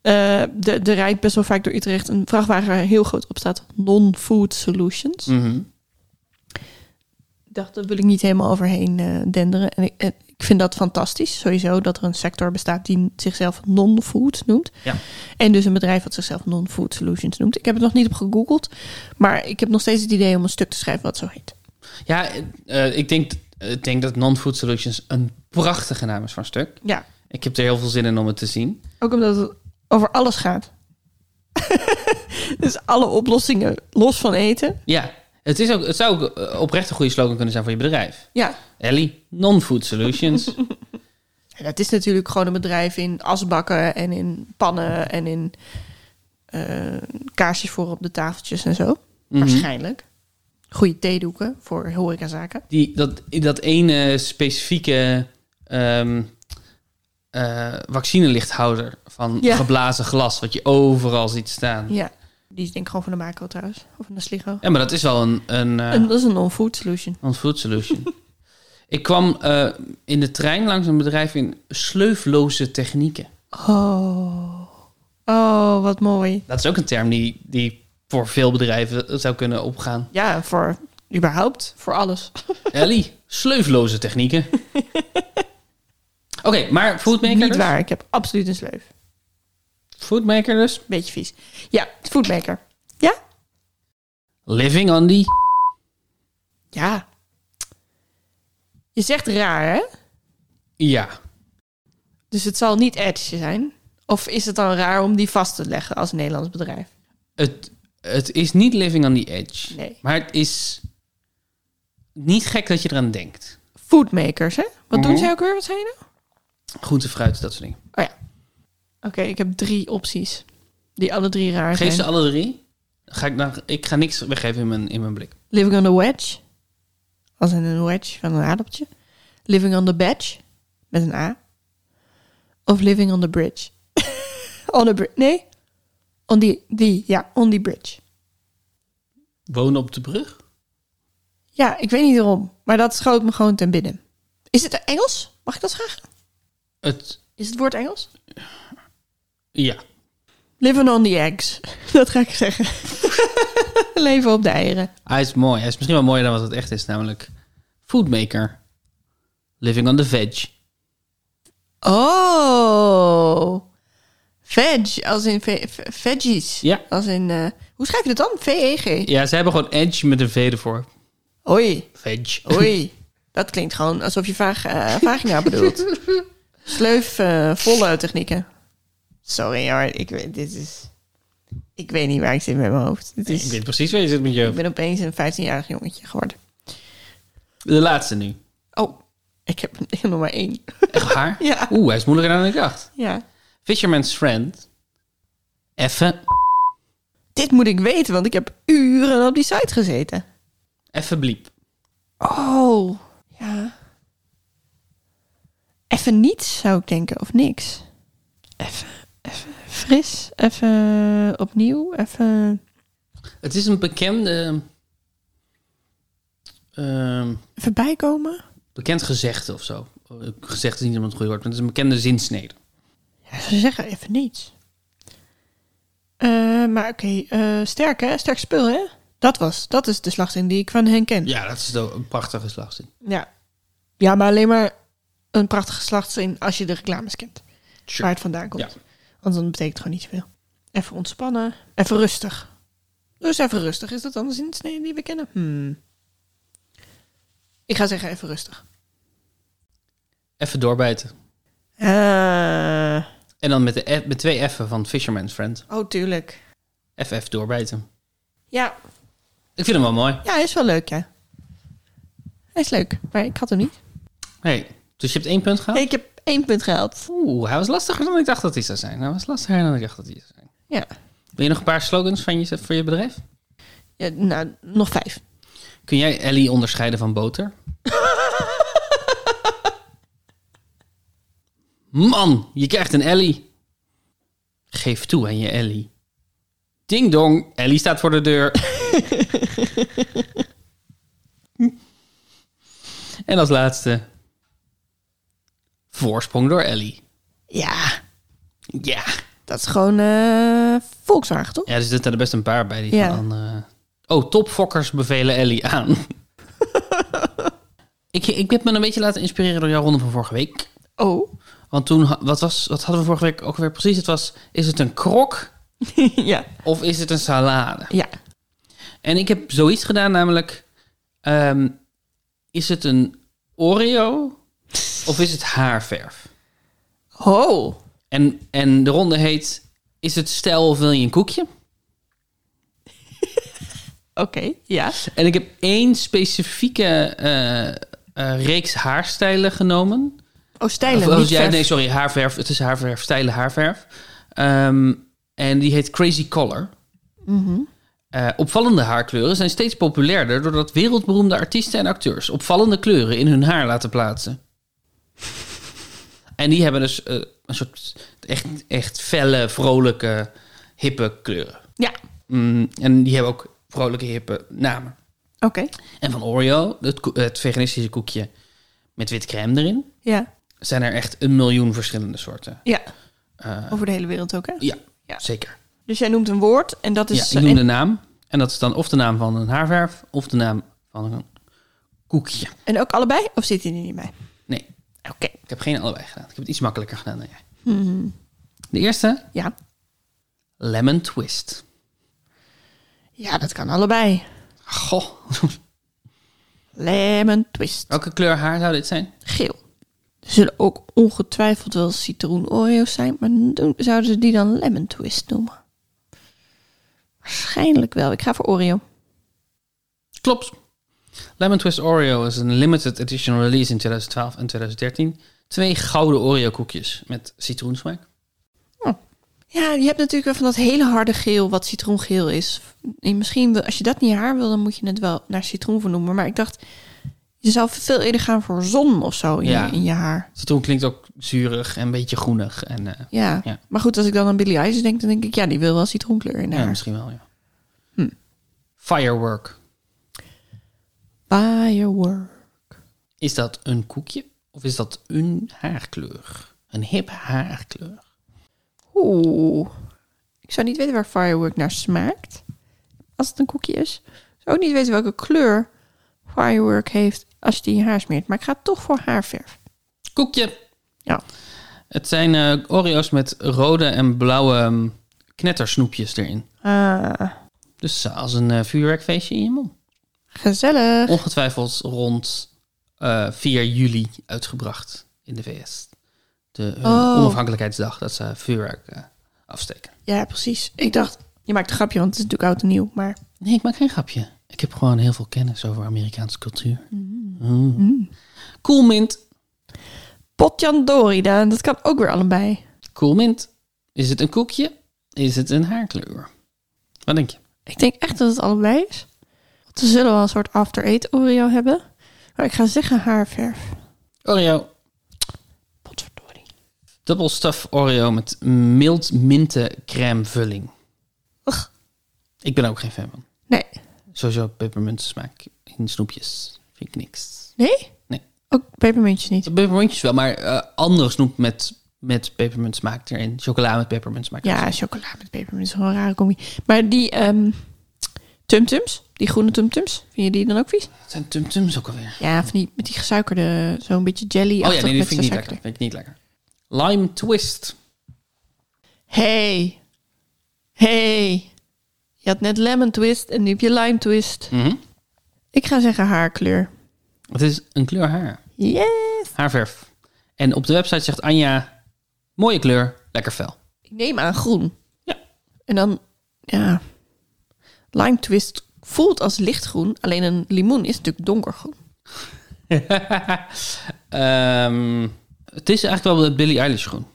Speaker 1: Eh, de, de rijdt best wel vaak door Utrecht een vrachtwagen waar heel groot op staat non-food solutions.
Speaker 2: Mhm.
Speaker 1: Ik dacht, daar wil ik niet helemaal overheen eh, denderen. En ik, eh, ik vind dat fantastisch, sowieso, dat er een sector bestaat die zichzelf non-food noemt.
Speaker 2: Ja.
Speaker 1: En dus een bedrijf dat zichzelf non-food solutions noemt. Ik heb het nog niet op gegoogeld, maar ik heb nog steeds het idee om een stuk te schrijven wat zo heet.
Speaker 2: Ja, eh, ik, denk, ik denk dat Non-Food Solutions een prachtige naam is van stuk.
Speaker 1: Ja,
Speaker 2: Ik heb er heel veel zin in om het te zien.
Speaker 1: ook omdat het over alles gaat. [LAUGHS] dus alle oplossingen los van eten.
Speaker 2: Ja, het, is ook, het zou ook eh, oprecht een goede slogan kunnen zijn voor je bedrijf.
Speaker 1: Ja,
Speaker 2: Ellie, Non-Food Solutions.
Speaker 1: En dat is natuurlijk gewoon een bedrijf in asbakken en in pannen en in eh, kaarsjes voor op de tafeltjes en zo.
Speaker 2: Mhm.
Speaker 1: Waarschijnlijk. Goede theedoeken voor horecazaken.
Speaker 2: Die, dat, dat ene specifieke ehm eh, vaccinelichthouder van
Speaker 1: Ja.
Speaker 2: geblazen glas, wat je overal ziet staan. Ja,
Speaker 1: Ja. Die is denk ik gewoon van de macro trouwens. Of van de sligo.
Speaker 2: maar dat is wel een, een, eh,
Speaker 1: En dat is een non-food solution.
Speaker 2: een food solution. [LAUGHS] Ik kwam eh, in de trein langs een bedrijf in sleufloze technieken.
Speaker 1: Oh. Oh, wat mooi.
Speaker 2: Dat is ook een term die, die voor veel bedrijven zou kunnen
Speaker 1: [LAUGHS]
Speaker 2: opgaan.
Speaker 1: Ja, voor überhaupt. Voor alles.
Speaker 2: Ellie, sleufloze technieken.
Speaker 1: [LAUGHS]
Speaker 2: Oké, maar foodmaker
Speaker 1: Niet
Speaker 2: dus?
Speaker 1: waar. Ik heb absoluut een sleuf.
Speaker 2: Foodmaker dus?
Speaker 1: Beetje vies. Ja, foodmaker. Ja?
Speaker 2: Living on the...
Speaker 1: Ja. Je zegt raar, hè?
Speaker 2: Ja.
Speaker 1: Dus het zal niet Edge zijn. Of is het dan raar om die vast te leggen als Nederlands bedrijf?
Speaker 2: Het, het is niet living on the edge.
Speaker 1: Nee.
Speaker 2: Maar het is niet gek dat je eraan denkt.
Speaker 1: Foodmakers, hè? Wat doen
Speaker 2: Mhm.
Speaker 1: zij ook weer? Wat zijn nou?
Speaker 2: Groente, fruit, dat soort dingen.
Speaker 1: Oh ja. Oké, ik heb drie opties. Die alle drie raar
Speaker 2: Geef
Speaker 1: zijn.
Speaker 2: ze alle drie. Ga ik, naar, ik ga niks weggeven in mijn, in mijn blik.
Speaker 1: Living on the wedge. Als in een wedge van een aardappeltje. Living on the badge. Met een A. Of living on the bridge. [LAUGHS] on the bridge. Nee. On die, die. Ja, on the bridge.
Speaker 2: Wonen op de brug?
Speaker 1: Ja, ik weet niet waarom. Maar dat schoot me gewoon ten binnen. Is het Engels? Mag ik dat vragen?
Speaker 2: Het,
Speaker 1: Is het woord Engels?
Speaker 2: ja.
Speaker 1: Living on the eggs. [LAUGHS] Dat ga ik zeggen. [LAUGHS] Leven op de eieren.
Speaker 2: Hij is mooi. Hij is misschien wel mooier dan wat het echt is. Namelijk foodmaker. Living on the veg.
Speaker 1: Oh. Veg, als in ve- ve- veggies.
Speaker 2: Ja.
Speaker 1: Als in, eh, hoe schrijf je dat dan? E V-E-G.
Speaker 2: Ja, ze hebben gewoon edge met een V ervoor.
Speaker 1: Oei,
Speaker 2: Veg.
Speaker 1: oei. [LAUGHS] dat klinkt gewoon alsof je vaag, eh, vagina bedoelt.
Speaker 2: [LAUGHS]
Speaker 1: Sleuf, eh, volle technieken. Sorry hoor, ik weet, dit is... Ik weet niet waar ik zit met mijn hoofd. Dit
Speaker 2: [LAUGHS] Ik
Speaker 1: is,
Speaker 2: weet precies waar je zit met je
Speaker 1: ik ben opeens een 15-jarig jongetje geworden.
Speaker 2: De laatste nu.
Speaker 1: Oh, ik heb [LAUGHS] ik heb nog maar één.
Speaker 2: Echt haar?
Speaker 1: [LAUGHS] Ja.
Speaker 2: Oeh, hij is moeilijker dan ik dacht.
Speaker 1: Ja.
Speaker 2: Fisherman's Friend. Effe.
Speaker 1: Dit moet ik weten, want ik heb uren op die site gezeten.
Speaker 2: Effe bliep.
Speaker 1: Oh, ja. Even niets, zou ik denken, of niks. Even, even fris, even opnieuw, even...
Speaker 2: Het is een bekende. ehm,
Speaker 1: Even bijkomen?
Speaker 2: bekend gezegde of zo. Gezegd is niet iemand het goede woord, maar het is een bekende zinsnede.
Speaker 1: Ja, ze zeggen even niets. Eh, maar oké, eh, sterk hè, sterk spul hè. Dat was, dat is de slagzin die ik van hen ken.
Speaker 2: Ja, dat is wel een prachtige slagzin.
Speaker 1: Ja. Ja, maar alleen maar een prachtige slagzin als je de reclames kent.
Speaker 2: Sure.
Speaker 1: Waar het vandaan komt.
Speaker 2: Ja.
Speaker 1: Want dan betekent het gewoon niet zoveel. Even ontspannen. Even rustig. Dus even rustig. Is dat anders in het snee die we kennen? Hmm. Ik ga zeggen even rustig.
Speaker 2: Even doorbijten.
Speaker 1: Eh,
Speaker 2: En dan met, de F- met twee F'en van Fisherman's Friend.
Speaker 1: oh, tuurlijk.
Speaker 2: FF doorbijten.
Speaker 1: Ja,
Speaker 2: Ik vind hem wel mooi.
Speaker 1: ja, hij is wel leuk, ja. Hij is leuk, maar ik had hem niet.
Speaker 2: Hey, dus je hebt één punt gehad?
Speaker 1: Ik heb één punt gehaald.
Speaker 2: Oeh, hij was lastiger dan ik dacht dat hij zou zijn. Hij was lastiger dan ik dacht dat hij zou zijn.
Speaker 1: Ja.
Speaker 2: Wil je nog een paar slogans van je, voor je bedrijf?
Speaker 1: ja nou, nog vijf. [LAUGHS]
Speaker 2: Kun jij Ellie onderscheiden van boter? Man, je krijgt een Ellie. Geef toe aan je Ellie. Ding dong, Ellie staat voor de deur. en als laatste. Voorsprong door Ellie.
Speaker 1: Ja,
Speaker 2: Ja.
Speaker 1: dat is gewoon eh, Volkswagen, toch?
Speaker 2: Ja, er zitten er best een paar bij die
Speaker 1: Ja.
Speaker 2: van andere... Oh, topfokkers bevelen Ellie aan. ik, ik heb me een beetje laten inspireren door jouw ronde van vorige week.
Speaker 1: Oh. [LAUGHS]
Speaker 2: Want toen, ha- wat, was, wat hadden we vorige week ook weer precies? Het was, is het een krok
Speaker 1: ja.
Speaker 2: of is het een salade?
Speaker 1: Ja.
Speaker 2: En ik heb zoiets gedaan, namelijk... ehm, is het een Oreo of is het haarverf?
Speaker 1: Oh.
Speaker 2: En, en de ronde heet... Is het stijl of wil je een koekje?
Speaker 1: Oké, ja.
Speaker 2: En ik heb één specifieke eh, eh, reeks haarstijlen genomen.
Speaker 1: Oh,
Speaker 2: Of,
Speaker 1: stijlen,
Speaker 2: als
Speaker 1: niet
Speaker 2: jij-
Speaker 1: verf.
Speaker 2: nee, sorry, haarverf. Het is haarverf, stijlen haarverf. Ehm, en die heet Crazy Color. Eh, opvallende haarkleuren zijn steeds populairder doordat wereldberoemde artiesten en acteurs opvallende kleuren in hun haar laten plaatsen. En die hebben dus eh, een soort echt, echt felle, vrolijke, hippe kleuren.
Speaker 1: Ja,
Speaker 2: Mm, en die hebben ook vrolijke, hippe namen.
Speaker 1: oké.
Speaker 2: En van Oreo, het, ko- het veganistische koekje met wit crème erin,
Speaker 1: Ja,
Speaker 2: zijn er echt een miljoen verschillende soorten.
Speaker 1: ja.
Speaker 2: Eh,
Speaker 1: Over de hele wereld ook, hè?
Speaker 2: ja,
Speaker 1: Ja. eh,
Speaker 2: zeker.
Speaker 1: Dus jij noemt een woord en dat is...
Speaker 2: ja, ik
Speaker 1: en-
Speaker 2: noem de naam. En dat is dan of de naam van een haarverf of de naam van een koekje.
Speaker 1: En ook allebei? Of zit hij er niet bij?
Speaker 2: Nee,
Speaker 1: Oké.
Speaker 2: ik heb geen allebei gedaan. Ik heb het iets makkelijker gedaan dan jij. De eerste,
Speaker 1: Ja.
Speaker 2: lemon twist.
Speaker 1: ja, dat kan allebei.
Speaker 2: Goh, [LAUGHS]
Speaker 1: Lemon twist.
Speaker 2: welke kleur haar zou dit zijn?
Speaker 1: Geel. Er zullen ook ongetwijfeld wel citroen Oreo's zijn, maar doen- zouden ze die dan lemon twist noemen? Waarschijnlijk wel. Ik ga voor Oreo.
Speaker 2: Klopt. Lemon Twist Oreo is een limited edition release in 2012 en 2013. Twee gouden Oreo koekjes met citroensmaak.
Speaker 1: Ja, je hebt natuurlijk wel van dat hele harde geel wat citroengeel is. En misschien, wil- als je dat niet haar wil, dan moet je het wel naar citroen vernoemen. Maar ik dacht, je zou veel eerder gaan voor zon of zo in,
Speaker 2: Ja.
Speaker 1: je, in je haar.
Speaker 2: Citroen klinkt ook zuurig en een beetje groenig. En, eh,
Speaker 1: Ja.
Speaker 2: Ja.
Speaker 1: maar goed, als ik dan aan Billy Eilish denk, dan denk ik, ja, die wil wel citroenkleur in
Speaker 2: ja,
Speaker 1: haar.
Speaker 2: misschien wel, ja.
Speaker 1: Hm.
Speaker 2: Firework.
Speaker 1: Firework.
Speaker 2: Is dat een koekje of is dat een haarkleur? Een hip haarkleur.
Speaker 1: Oeh. Ik zou niet weten waar firework naar smaakt. Als het een koekje is. Ik zou ook niet weten welke kleur firework heeft als je die in je haar smeert. Maar ik ga toch voor haarverf.
Speaker 2: Koekje.
Speaker 1: Ja.
Speaker 2: Het zijn eh, Oreo's met rode en blauwe mm, knettersnoepjes erin.
Speaker 1: Ah,
Speaker 2: Dus eh, als een eh, vuurwerkfeestje in je mond.
Speaker 1: gezellig.
Speaker 2: ongetwijfeld rond eh 4 juli uitgebracht in de VS. De hun
Speaker 1: Oh.
Speaker 2: onafhankelijkheidsdag, dat ze vuurwerk eh, afsteken.
Speaker 1: Ja, precies. Ik dacht, je maakt een grapje, want het is natuurlijk oud en nieuw. Maar
Speaker 2: Nee, ik maak geen grapje. Ik heb gewoon heel veel kennis over Amerikaanse cultuur. Mm. Cool mint.
Speaker 1: potjandori, Daan, dat kan ook weer allebei.
Speaker 2: Cool mint. Is het een koekje? Is het een haarkleur? Wat denk je?
Speaker 1: Ik denk echt dat het allebei is. Want we zullen wel een soort after-eat Oreo hebben. Maar ik ga zeggen haarverf.
Speaker 2: Oreo.
Speaker 1: Potverdorie.
Speaker 2: Double stuff Oreo met mild minten crème vulling.
Speaker 1: Ugh.
Speaker 2: Ik ben er ook geen fan van.
Speaker 1: Nee.
Speaker 2: Sowieso pepermunt smaak in snoepjes. Vind ik niks.
Speaker 1: Nee?
Speaker 2: Nee.
Speaker 1: Ook pepermuntjes niet.
Speaker 2: Pepermuntjes wel, maar eh, andere snoep met, met pepermunt smaak erin. Chocola met pepermunt smaak.
Speaker 1: Ja, chocola met pepermunt is gewoon een rare combi. Maar die ehm, tumtums, die groene tumtums, vind je die dan ook vies?
Speaker 2: Het zijn tumtums ook alweer.
Speaker 1: Ja, van die, met die gesuikerde, zo'n beetje jelly
Speaker 2: Oh ja, nee, dat
Speaker 1: met
Speaker 2: vind ik niet lekker.
Speaker 1: gesuikerde.
Speaker 2: Vind ik niet lekker. Lime twist.
Speaker 1: Hey. Hey. Je had net lemon twist en nu heb je lime twist.
Speaker 2: Mhm.
Speaker 1: Ik ga zeggen haarkleur.
Speaker 2: Het is een kleur haar.
Speaker 1: Yes.
Speaker 2: Haarverf. En op de website zegt Anja, mooie kleur, lekker fel. [LAUGHS]
Speaker 1: Ik neem aan groen.
Speaker 2: Ja.
Speaker 1: En dan, ja. Lime twist voelt als lichtgroen. Alleen een limoen is natuurlijk donkergroen.
Speaker 2: Ehm, het is eigenlijk wel het Billie Eilish groen.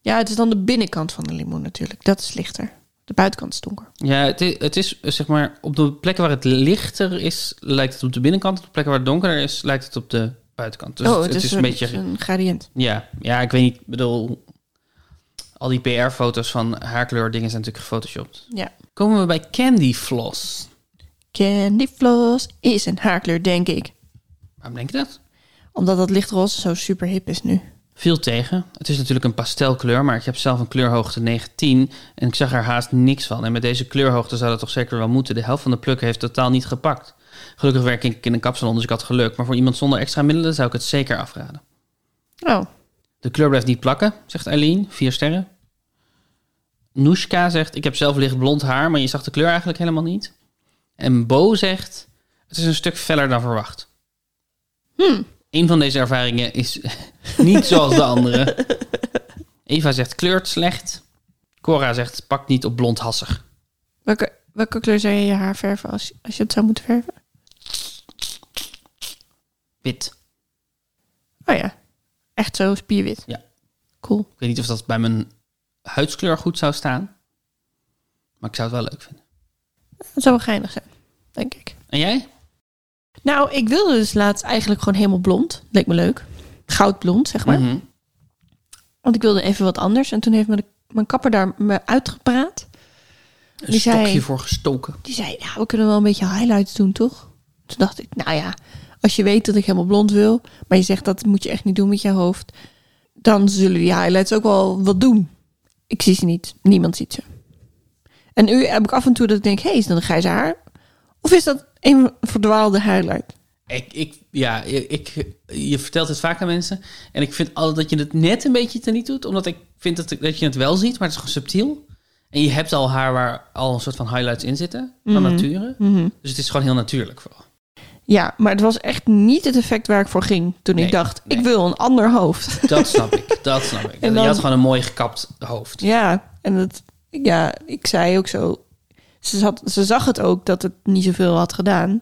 Speaker 1: Ja, het is dan de binnenkant van de limoen natuurlijk. Dat is lichter. De buitenkant is donker.
Speaker 2: Ja, het is, het is eh, zeg maar op de plekken waar het lichter is, lijkt het op de binnenkant. Op de plekken waar het donkerder is, lijkt het op de buitenkant. Dus het, het is, een beetje.
Speaker 1: Oh, een gradient.
Speaker 2: Ja, ja, ik weet niet. Ik bedoel, al die PR-foto's van haarkleur dingen zijn natuurlijk gefotoshopt.
Speaker 1: Ja.
Speaker 2: Komen we bij Candy Floss.
Speaker 1: Candy floss is een haarkleur, denk ik.
Speaker 2: Waarom denk je dat?
Speaker 1: Omdat dat lichtroze zo super hip is nu.
Speaker 2: Viel tegen. Het is natuurlijk een pastelkleur, maar ik heb zelf een kleurhoogte 19 en ik zag er haast niks van. En met deze kleurhoogte zou dat toch zeker wel moeten. De helft van de plukken heeft totaal niet gepakt. Gelukkig werk ik in een kapsalon, dus ik had geluk. Maar voor iemand zonder extra middelen zou ik het zeker afraden.
Speaker 1: Oh,
Speaker 2: De kleur blijft niet plakken, zegt Eileen. Vier sterren. Noeska zegt, ik heb zelf licht blond haar, maar je zag de kleur eigenlijk helemaal niet. En Bo zegt, het is een stuk feller dan verwacht.
Speaker 1: Hmm.
Speaker 2: Een van deze ervaringen is [LAUGHS] niet zoals de andere. Eva zegt, kleurt slecht. Cora zegt, pak niet op blond hassig.
Speaker 1: welke, welke kleur zou je je haar verven als, als je het zou moeten verven?
Speaker 2: Wit.
Speaker 1: Oh ja, echt zo spierwit.
Speaker 2: Ja.
Speaker 1: Cool.
Speaker 2: Ik weet niet of dat bij mijn huidskleur goed zou staan. Maar ik zou het wel leuk vinden.
Speaker 1: Dat zou wel geinig zijn, denk ik.
Speaker 2: En jij?
Speaker 1: Nou, ik wilde dus laatst eigenlijk gewoon helemaal blond. Leek me leuk. Goudblond, zeg maar.
Speaker 2: Mhm.
Speaker 1: Want ik wilde even wat anders. En toen heeft mijn, mijn kapper daar me uitgepraat.
Speaker 2: Een
Speaker 1: Die zei-
Speaker 2: stokje voor gestoken.
Speaker 1: Die zei, ja, we kunnen wel een beetje highlights doen, toch? Toen dacht ik, nou ja, als je weet dat ik helemaal blond wil... maar je zegt dat moet je echt niet doen met je hoofd... dan zullen die highlights ook wel wat doen. Ik zie ze niet. Niemand ziet ze. En nu heb ik af en toe dat ik denk, hé, hey, is dat een grijze haar? Of is dat een verdwaalde highlight?
Speaker 2: Ik, ik, ja, ik, je vertelt het vaak aan mensen. En ik vind altijd dat je het net een beetje teniet doet. Omdat ik vind dat, dat je het wel ziet, maar het is gewoon subtiel. En je hebt al haar waar al een soort van highlights in zitten. Van
Speaker 1: Mhm.
Speaker 2: nature. Dus het is gewoon heel natuurlijk vooral.
Speaker 1: Ja, maar het was echt niet het effect waar ik voor ging... toen
Speaker 2: Nee,
Speaker 1: ik dacht,
Speaker 2: nee.
Speaker 1: ik wil een ander hoofd.
Speaker 2: Dat snap ik.
Speaker 1: [LAUGHS]
Speaker 2: Dat snap ik.
Speaker 1: En
Speaker 2: Je
Speaker 1: dan-
Speaker 2: had gewoon een mooi gekapt hoofd.
Speaker 1: Ja, en dat, ja, ik zei ook zo. Ze, zat, ze zag het ook dat het niet zoveel had gedaan.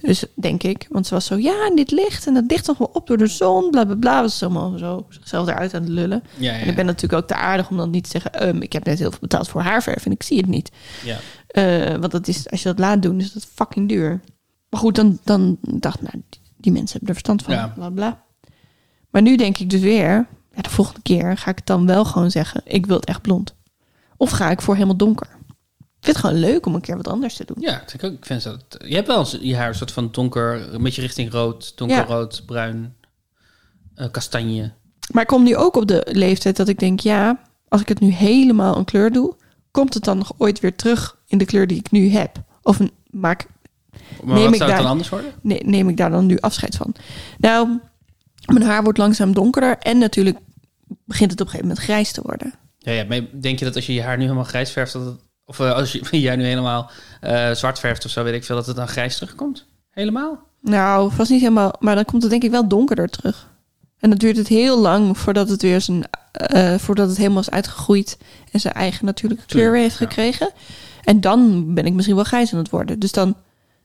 Speaker 1: Dus denk ik. Want ze was zo, ja, en dit licht. En dat licht nog wel op door de zon. Bla bla bla. Was ze allemaal zo zichzelf eruit aan het lullen.
Speaker 2: Ja, ja,
Speaker 1: En ik ben natuurlijk ook te aardig om dan niet te zeggen. ehm, ik heb net heel veel betaald voor haarverf en ik zie het niet.
Speaker 2: ja.
Speaker 1: Eh, want dat is, als je dat laat doen, is dat fucking duur. Maar goed, dan, dan dacht ik, nou, die- die mensen hebben er verstand van.
Speaker 2: Ja.
Speaker 1: Bla bla. Maar nu denk ik dus weer, ja, de volgende keer ga ik het dan wel gewoon zeggen: ik wil het echt blond. Of ga ik voor helemaal donker. Ik vind het gewoon leuk om een keer wat anders te doen.
Speaker 2: Ja, ik, denk ook, ik vind dat... Je hebt wel eens je haar een soort van donker... Een beetje richting rood. Donkerrood, bruin, eh, kastanje.
Speaker 1: Maar ik kom nu ook op de leeftijd dat ik denk: ja, als ik het nu helemaal een kleur doe, komt het dan nog ooit weer terug in de kleur die ik nu heb? Of een, maak Neem
Speaker 2: Maar
Speaker 1: ik
Speaker 2: wat zou het
Speaker 1: daar-
Speaker 2: dan anders worden?
Speaker 1: ne- neem ik daar dan nu afscheid van. Nou, mijn haar wordt langzaam donkerder en natuurlijk begint het op een gegeven moment grijs te worden.
Speaker 2: Ja, ja, maar denk je dat als je je haar nu helemaal grijs verft, dat het- of eh, als je [LAUGHS] jij nu helemaal eh, zwart verft of zo, weet ik veel, dat het dan grijs terugkomt? Helemaal?
Speaker 1: Nou, vast niet helemaal, maar dan komt het denk ik wel donkerder terug. En dan duurt het heel lang voordat het weer zijn, eh, voordat het helemaal is uitgegroeid en zijn eigen natuurlijke kleur weer heeft
Speaker 2: ja.
Speaker 1: gekregen. En dan ben ik misschien wel grijs aan het worden. Dus dan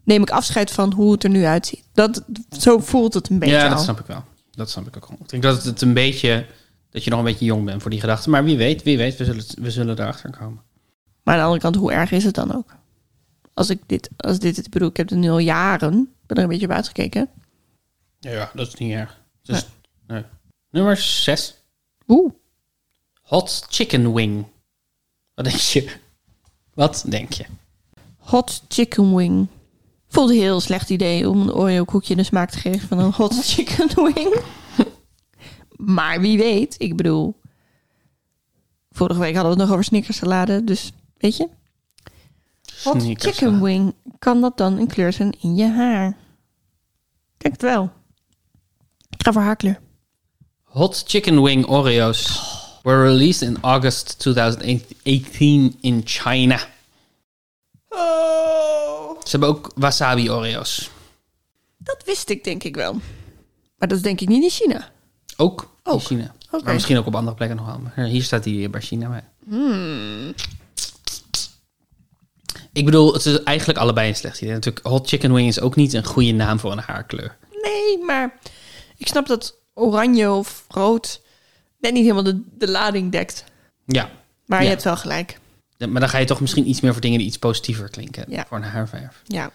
Speaker 1: neem ik afscheid van hoe het er nu uitziet. Dat, zo voelt het een beetje.
Speaker 2: ja, dat
Speaker 1: al.
Speaker 2: snap ik wel. Dat snap ik ook wel. Ik denk dat het een beetje, dat je nog een beetje jong bent voor die gedachte. Maar wie weet, wie weet, we zullen, het- we zullen erachter komen.
Speaker 1: Maar aan de andere kant, hoe erg is het dan ook? Als ik dit, als dit, ik bedoel, ik heb het nu al jaren, ik ben er een beetje op uitgekeken.
Speaker 2: Ja, ja dat is niet erg. Dus, nee. Nummer 6.
Speaker 1: Oeh,
Speaker 2: Hot chicken wing. Wat denk je? Wat denk je?
Speaker 1: hot chicken wing. Vond een heel slecht idee om een Oreo koekje de smaak te geven van een hot chicken wing. maar wie weet, ik bedoel, vorige week hadden we het nog over snickersalade, dus weet je. Hot
Speaker 2: Snickers.
Speaker 1: chicken wing, kan dat dan een kleur zijn in je haar? Ik Denk het wel. Ik ga voor haarkleur.
Speaker 2: Hot Chicken Wing Oreos were released in August 2018 in China.
Speaker 1: Oh.
Speaker 2: Ze hebben ook wasabi Oreos.
Speaker 1: Dat wist ik denk ik wel. Maar dat is denk ik niet in China.
Speaker 2: Ook in
Speaker 1: Ook,
Speaker 2: China.
Speaker 1: oké.
Speaker 2: Maar misschien ook op andere plekken nog wel. Maar hier staat die bij China. Maar...
Speaker 1: Hmm.
Speaker 2: Ik bedoel, het is eigenlijk allebei een slecht idee. Natuurlijk, hot chicken wing is ook niet een goede naam voor een haarkleur.
Speaker 1: Nee, maar ik snap dat oranje of rood net niet helemaal de, de lading dekt.
Speaker 2: Ja,
Speaker 1: Maar
Speaker 2: Ja.
Speaker 1: je hebt wel gelijk.
Speaker 2: de- maar dan ga je toch misschien iets meer voor dingen die iets positiever klinken
Speaker 1: Ja.
Speaker 2: voor een haarverf.
Speaker 1: Ja.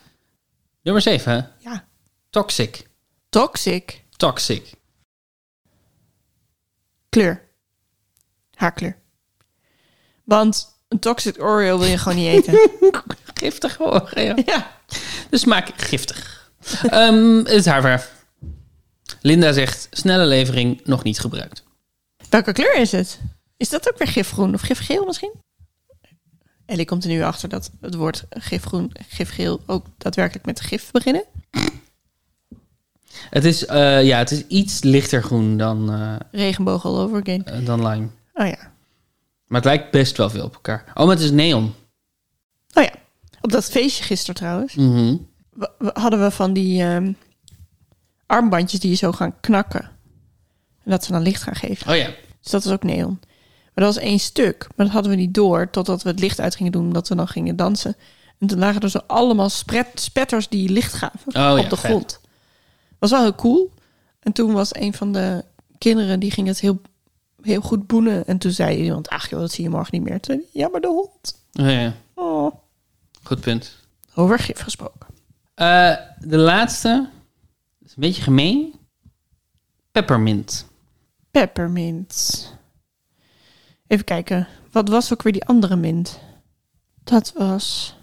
Speaker 2: Nummer 7.
Speaker 1: ja.
Speaker 2: Toxic.
Speaker 1: Toxic.
Speaker 2: Toxic. [LAUGHS]
Speaker 1: Kleur. Haarkleur. Want een toxic Oreo wil je gewoon niet [LAUGHS] eten.
Speaker 2: Giftig hoor. Ja.
Speaker 1: ja.
Speaker 2: De smaak giftig. Ehm, het is haarverf. Linda zegt, snelle levering nog niet gebruikt.
Speaker 1: Welke kleur is het? Is dat ook weer gifgroen of gifgeel misschien? Ellie komt er nu achter dat het woord gifgroen, gifgeel ook daadwerkelijk met gif beginnen.
Speaker 2: Het is, eh, ja, het is iets lichter groen dan, eh,
Speaker 1: Regenboog all over again.
Speaker 2: eh, dan lime.
Speaker 1: Oh ja.
Speaker 2: Maar het lijkt best wel veel op elkaar. Oh, maar het is neon.
Speaker 1: Oh ja. Op dat feestje gisteren trouwens.
Speaker 2: Mhm.
Speaker 1: w- w- hadden we van die ehm, armbandjes die je zo gaan knakken. En dat ze dan licht gaan geven.
Speaker 2: Oh ja.
Speaker 1: Dus dat is ook neon. Maar dat was één stuk. Maar dat hadden we niet door totdat we het licht uit gingen doen. Omdat we dan gingen dansen. En toen lagen er zo allemaal spret, spetters die licht gaven
Speaker 2: Oh
Speaker 1: op de
Speaker 2: ja, vet.
Speaker 1: grond. was wel heel cool. En toen was een van de kinderen, die ging het heel, heel goed boenen. En toen zei iemand, ach joh, dat zie je morgen niet meer. Toen zei hij, ja, maar de hond.
Speaker 2: Oh ja.
Speaker 1: Oh.
Speaker 2: Goed punt.
Speaker 1: Over gif gesproken.
Speaker 2: Eh, de laatste. is een beetje gemeen. Peppermint.
Speaker 1: Peppermint. Even kijken. Wat was ook weer die andere mint? Dat was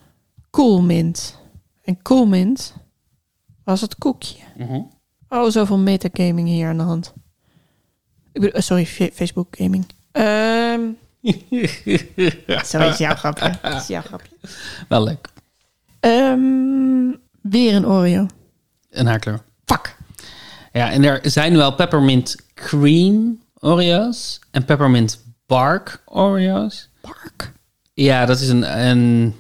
Speaker 1: koolmint. En koolmint was het koekje.
Speaker 2: Mhm.
Speaker 1: Oh, zoveel metagaming hier aan de hand. Ik bedoel, eh, sorry, Fe- Facebook gaming. Ehm, zo is jouw grapje. Dat is jouw grapje.
Speaker 2: [LAUGHS] Wel leuk.
Speaker 1: Ehm, weer een Oreo.
Speaker 2: Een haarkleur.
Speaker 1: Fuck.
Speaker 2: Ja, en er zijn wel peppermint cream Oreos en peppermint bark Oreos.
Speaker 1: Park.
Speaker 2: Ja, dat is een, een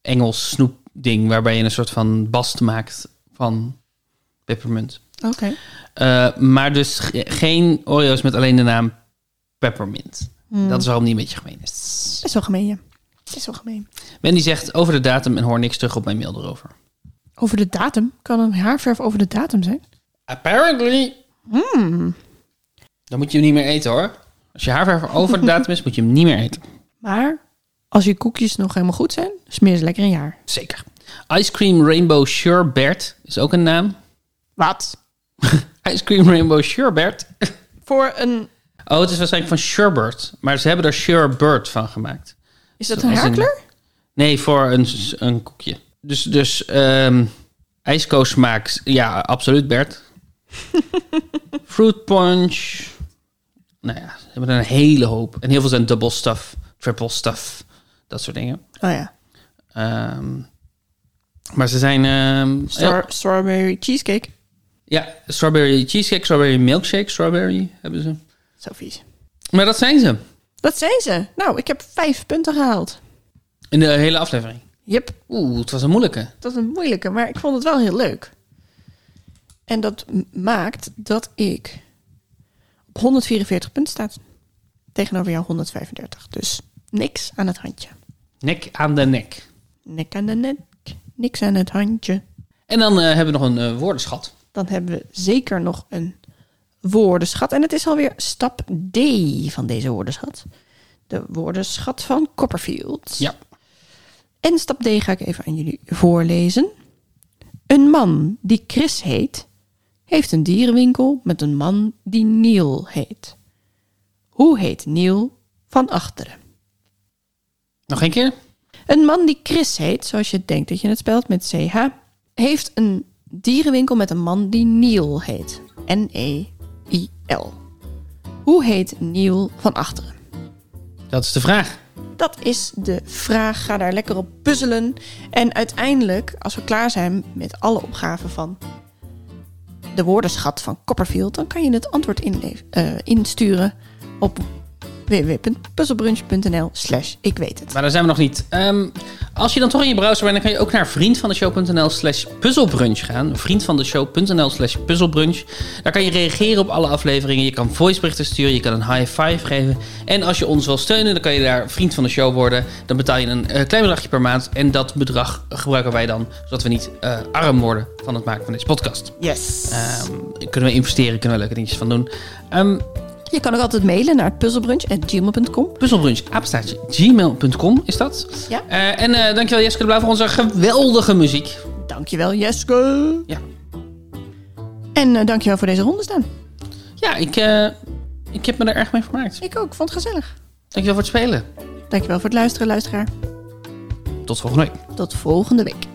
Speaker 2: Engels snoepding waarbij je een soort van bast maakt van peppermint.
Speaker 1: Oké.
Speaker 2: Eh, maar dus ge- geen Oreos met alleen de naam peppermint. Dat is waarom die een beetje gemeen is.
Speaker 1: Is wel gemeen, ja. Is wel gemeen.
Speaker 2: Wendy zegt over de datum en hoor niks terug op mijn mail erover.
Speaker 1: Over de datum. Kan een haarverf over de datum zijn?
Speaker 2: Apparently. Dan moet je hem niet meer eten hoor. Als je haarverf over de datum is, moet je hem niet meer eten.
Speaker 1: Maar als je koekjes nog helemaal goed zijn, smeer ze lekker een jaar.
Speaker 2: Zeker. Ice Cream Rainbow Sherbert is ook een naam.
Speaker 1: Wat?
Speaker 2: Ice Cream Rainbow Sherbert.
Speaker 1: Voor een.
Speaker 2: Oh, het is waarschijnlijk van Sherbert. Maar ze hebben er Sherbert van gemaakt.
Speaker 1: Is dat
Speaker 2: Zoals
Speaker 1: een
Speaker 2: in-
Speaker 1: haarkleur?
Speaker 2: Nee, voor een, s- een koekje. Dus, dus ehm ijskoosmaak. Ja, absoluut Bert. Fruit punch. Nou ja, ze hebben er een hele hoop. En heel veel zijn double stuff, triple stuff. Dat soort dingen.
Speaker 1: Oh ja.
Speaker 2: Ehm, maar ze zijn... ehm,
Speaker 1: Star- Strawberry cheesecake.
Speaker 2: Ja, strawberry cheesecake, strawberry milkshake, strawberry hebben ze.
Speaker 1: Zo vies.
Speaker 2: Maar dat zijn ze
Speaker 1: Dat zijn ze. Nou, ik heb vijf punten gehaald.
Speaker 2: in de hele aflevering.
Speaker 1: Yep.
Speaker 2: Oeh, het was een moeilijke.
Speaker 1: Dat is een moeilijke, maar ik vond het wel heel leuk. En dat m- maakt dat ik op 144 punten staat. Tegenover jou 135. Dus niks aan het handje.
Speaker 2: Nek aan de nek.
Speaker 1: Nek aan de nek. Niks aan het handje.
Speaker 2: En dan eh, hebben we nog een eh, woordenschat.
Speaker 1: dan hebben we zeker nog een woordenschat. En het is alweer stap D van deze woordenschat. De woordenschat van Copperfield.
Speaker 2: Ja.
Speaker 1: En stap D ga ik even aan jullie voorlezen. Een man die Chris heet, heeft een dierenwinkel met een man die Neil heet. Hoe heet Neil van achteren?
Speaker 2: Nog een keer?
Speaker 1: Een man die Chris heet, zoals je denkt dat je het spelt met CH, heeft een dierenwinkel met een man die Neil heet. N-E-I-L. Hoe heet Neil van achteren?
Speaker 2: Dat is de vraag.
Speaker 1: Dat is de vraag. Ga daar lekker op puzzelen. En uiteindelijk, als we klaar zijn met alle opgaven van de woordenschat van Copperfield, dan kan je het antwoord inlev- eh, insturen op www.puzzlebrunch.nl/slash ik weet het.
Speaker 2: Maar daar zijn we nog niet. Ehm, als je dan toch in je browser bent, dan kan je ook naar vriendvandeshow.nl slash puzzelbrunch gaan. Vriendvandeshow.nl slash puzzelbrunch. Daar kan je reageren op alle afleveringen. Je kan voiceberichten sturen, je kan een high five geven. En als je ons wil steunen, dan kan je daar vriend van de show worden. Dan betaal je een eh, klein bedragje per maand. En dat bedrag gebruiken wij dan, zodat we niet eh, arm worden van het maken van deze podcast.
Speaker 1: Yes.
Speaker 2: Ehm, kunnen we investeren, kunnen we leuke dingetjes van doen. Ehm,
Speaker 1: Je kan ook altijd mailen naar puzzelbrunch.gmail.com.
Speaker 2: Puzzelbrunch, apenstaartje, gmail.com is dat.
Speaker 1: Ja.
Speaker 2: Eh, en eh, dankjewel Jessica de Blauw voor onze geweldige muziek.
Speaker 1: Dankjewel, Jeske.
Speaker 2: Ja.
Speaker 1: En eh, dankjewel voor deze ronde staan.
Speaker 2: Ja, ik, eh, ik heb me er erg mee vermaakt.
Speaker 1: Ik ook, vond het gezellig.
Speaker 2: Dankjewel voor het spelen.
Speaker 1: Dankjewel voor het luisteren, luisteraar.
Speaker 2: Tot volgende week.
Speaker 1: Tot volgende week.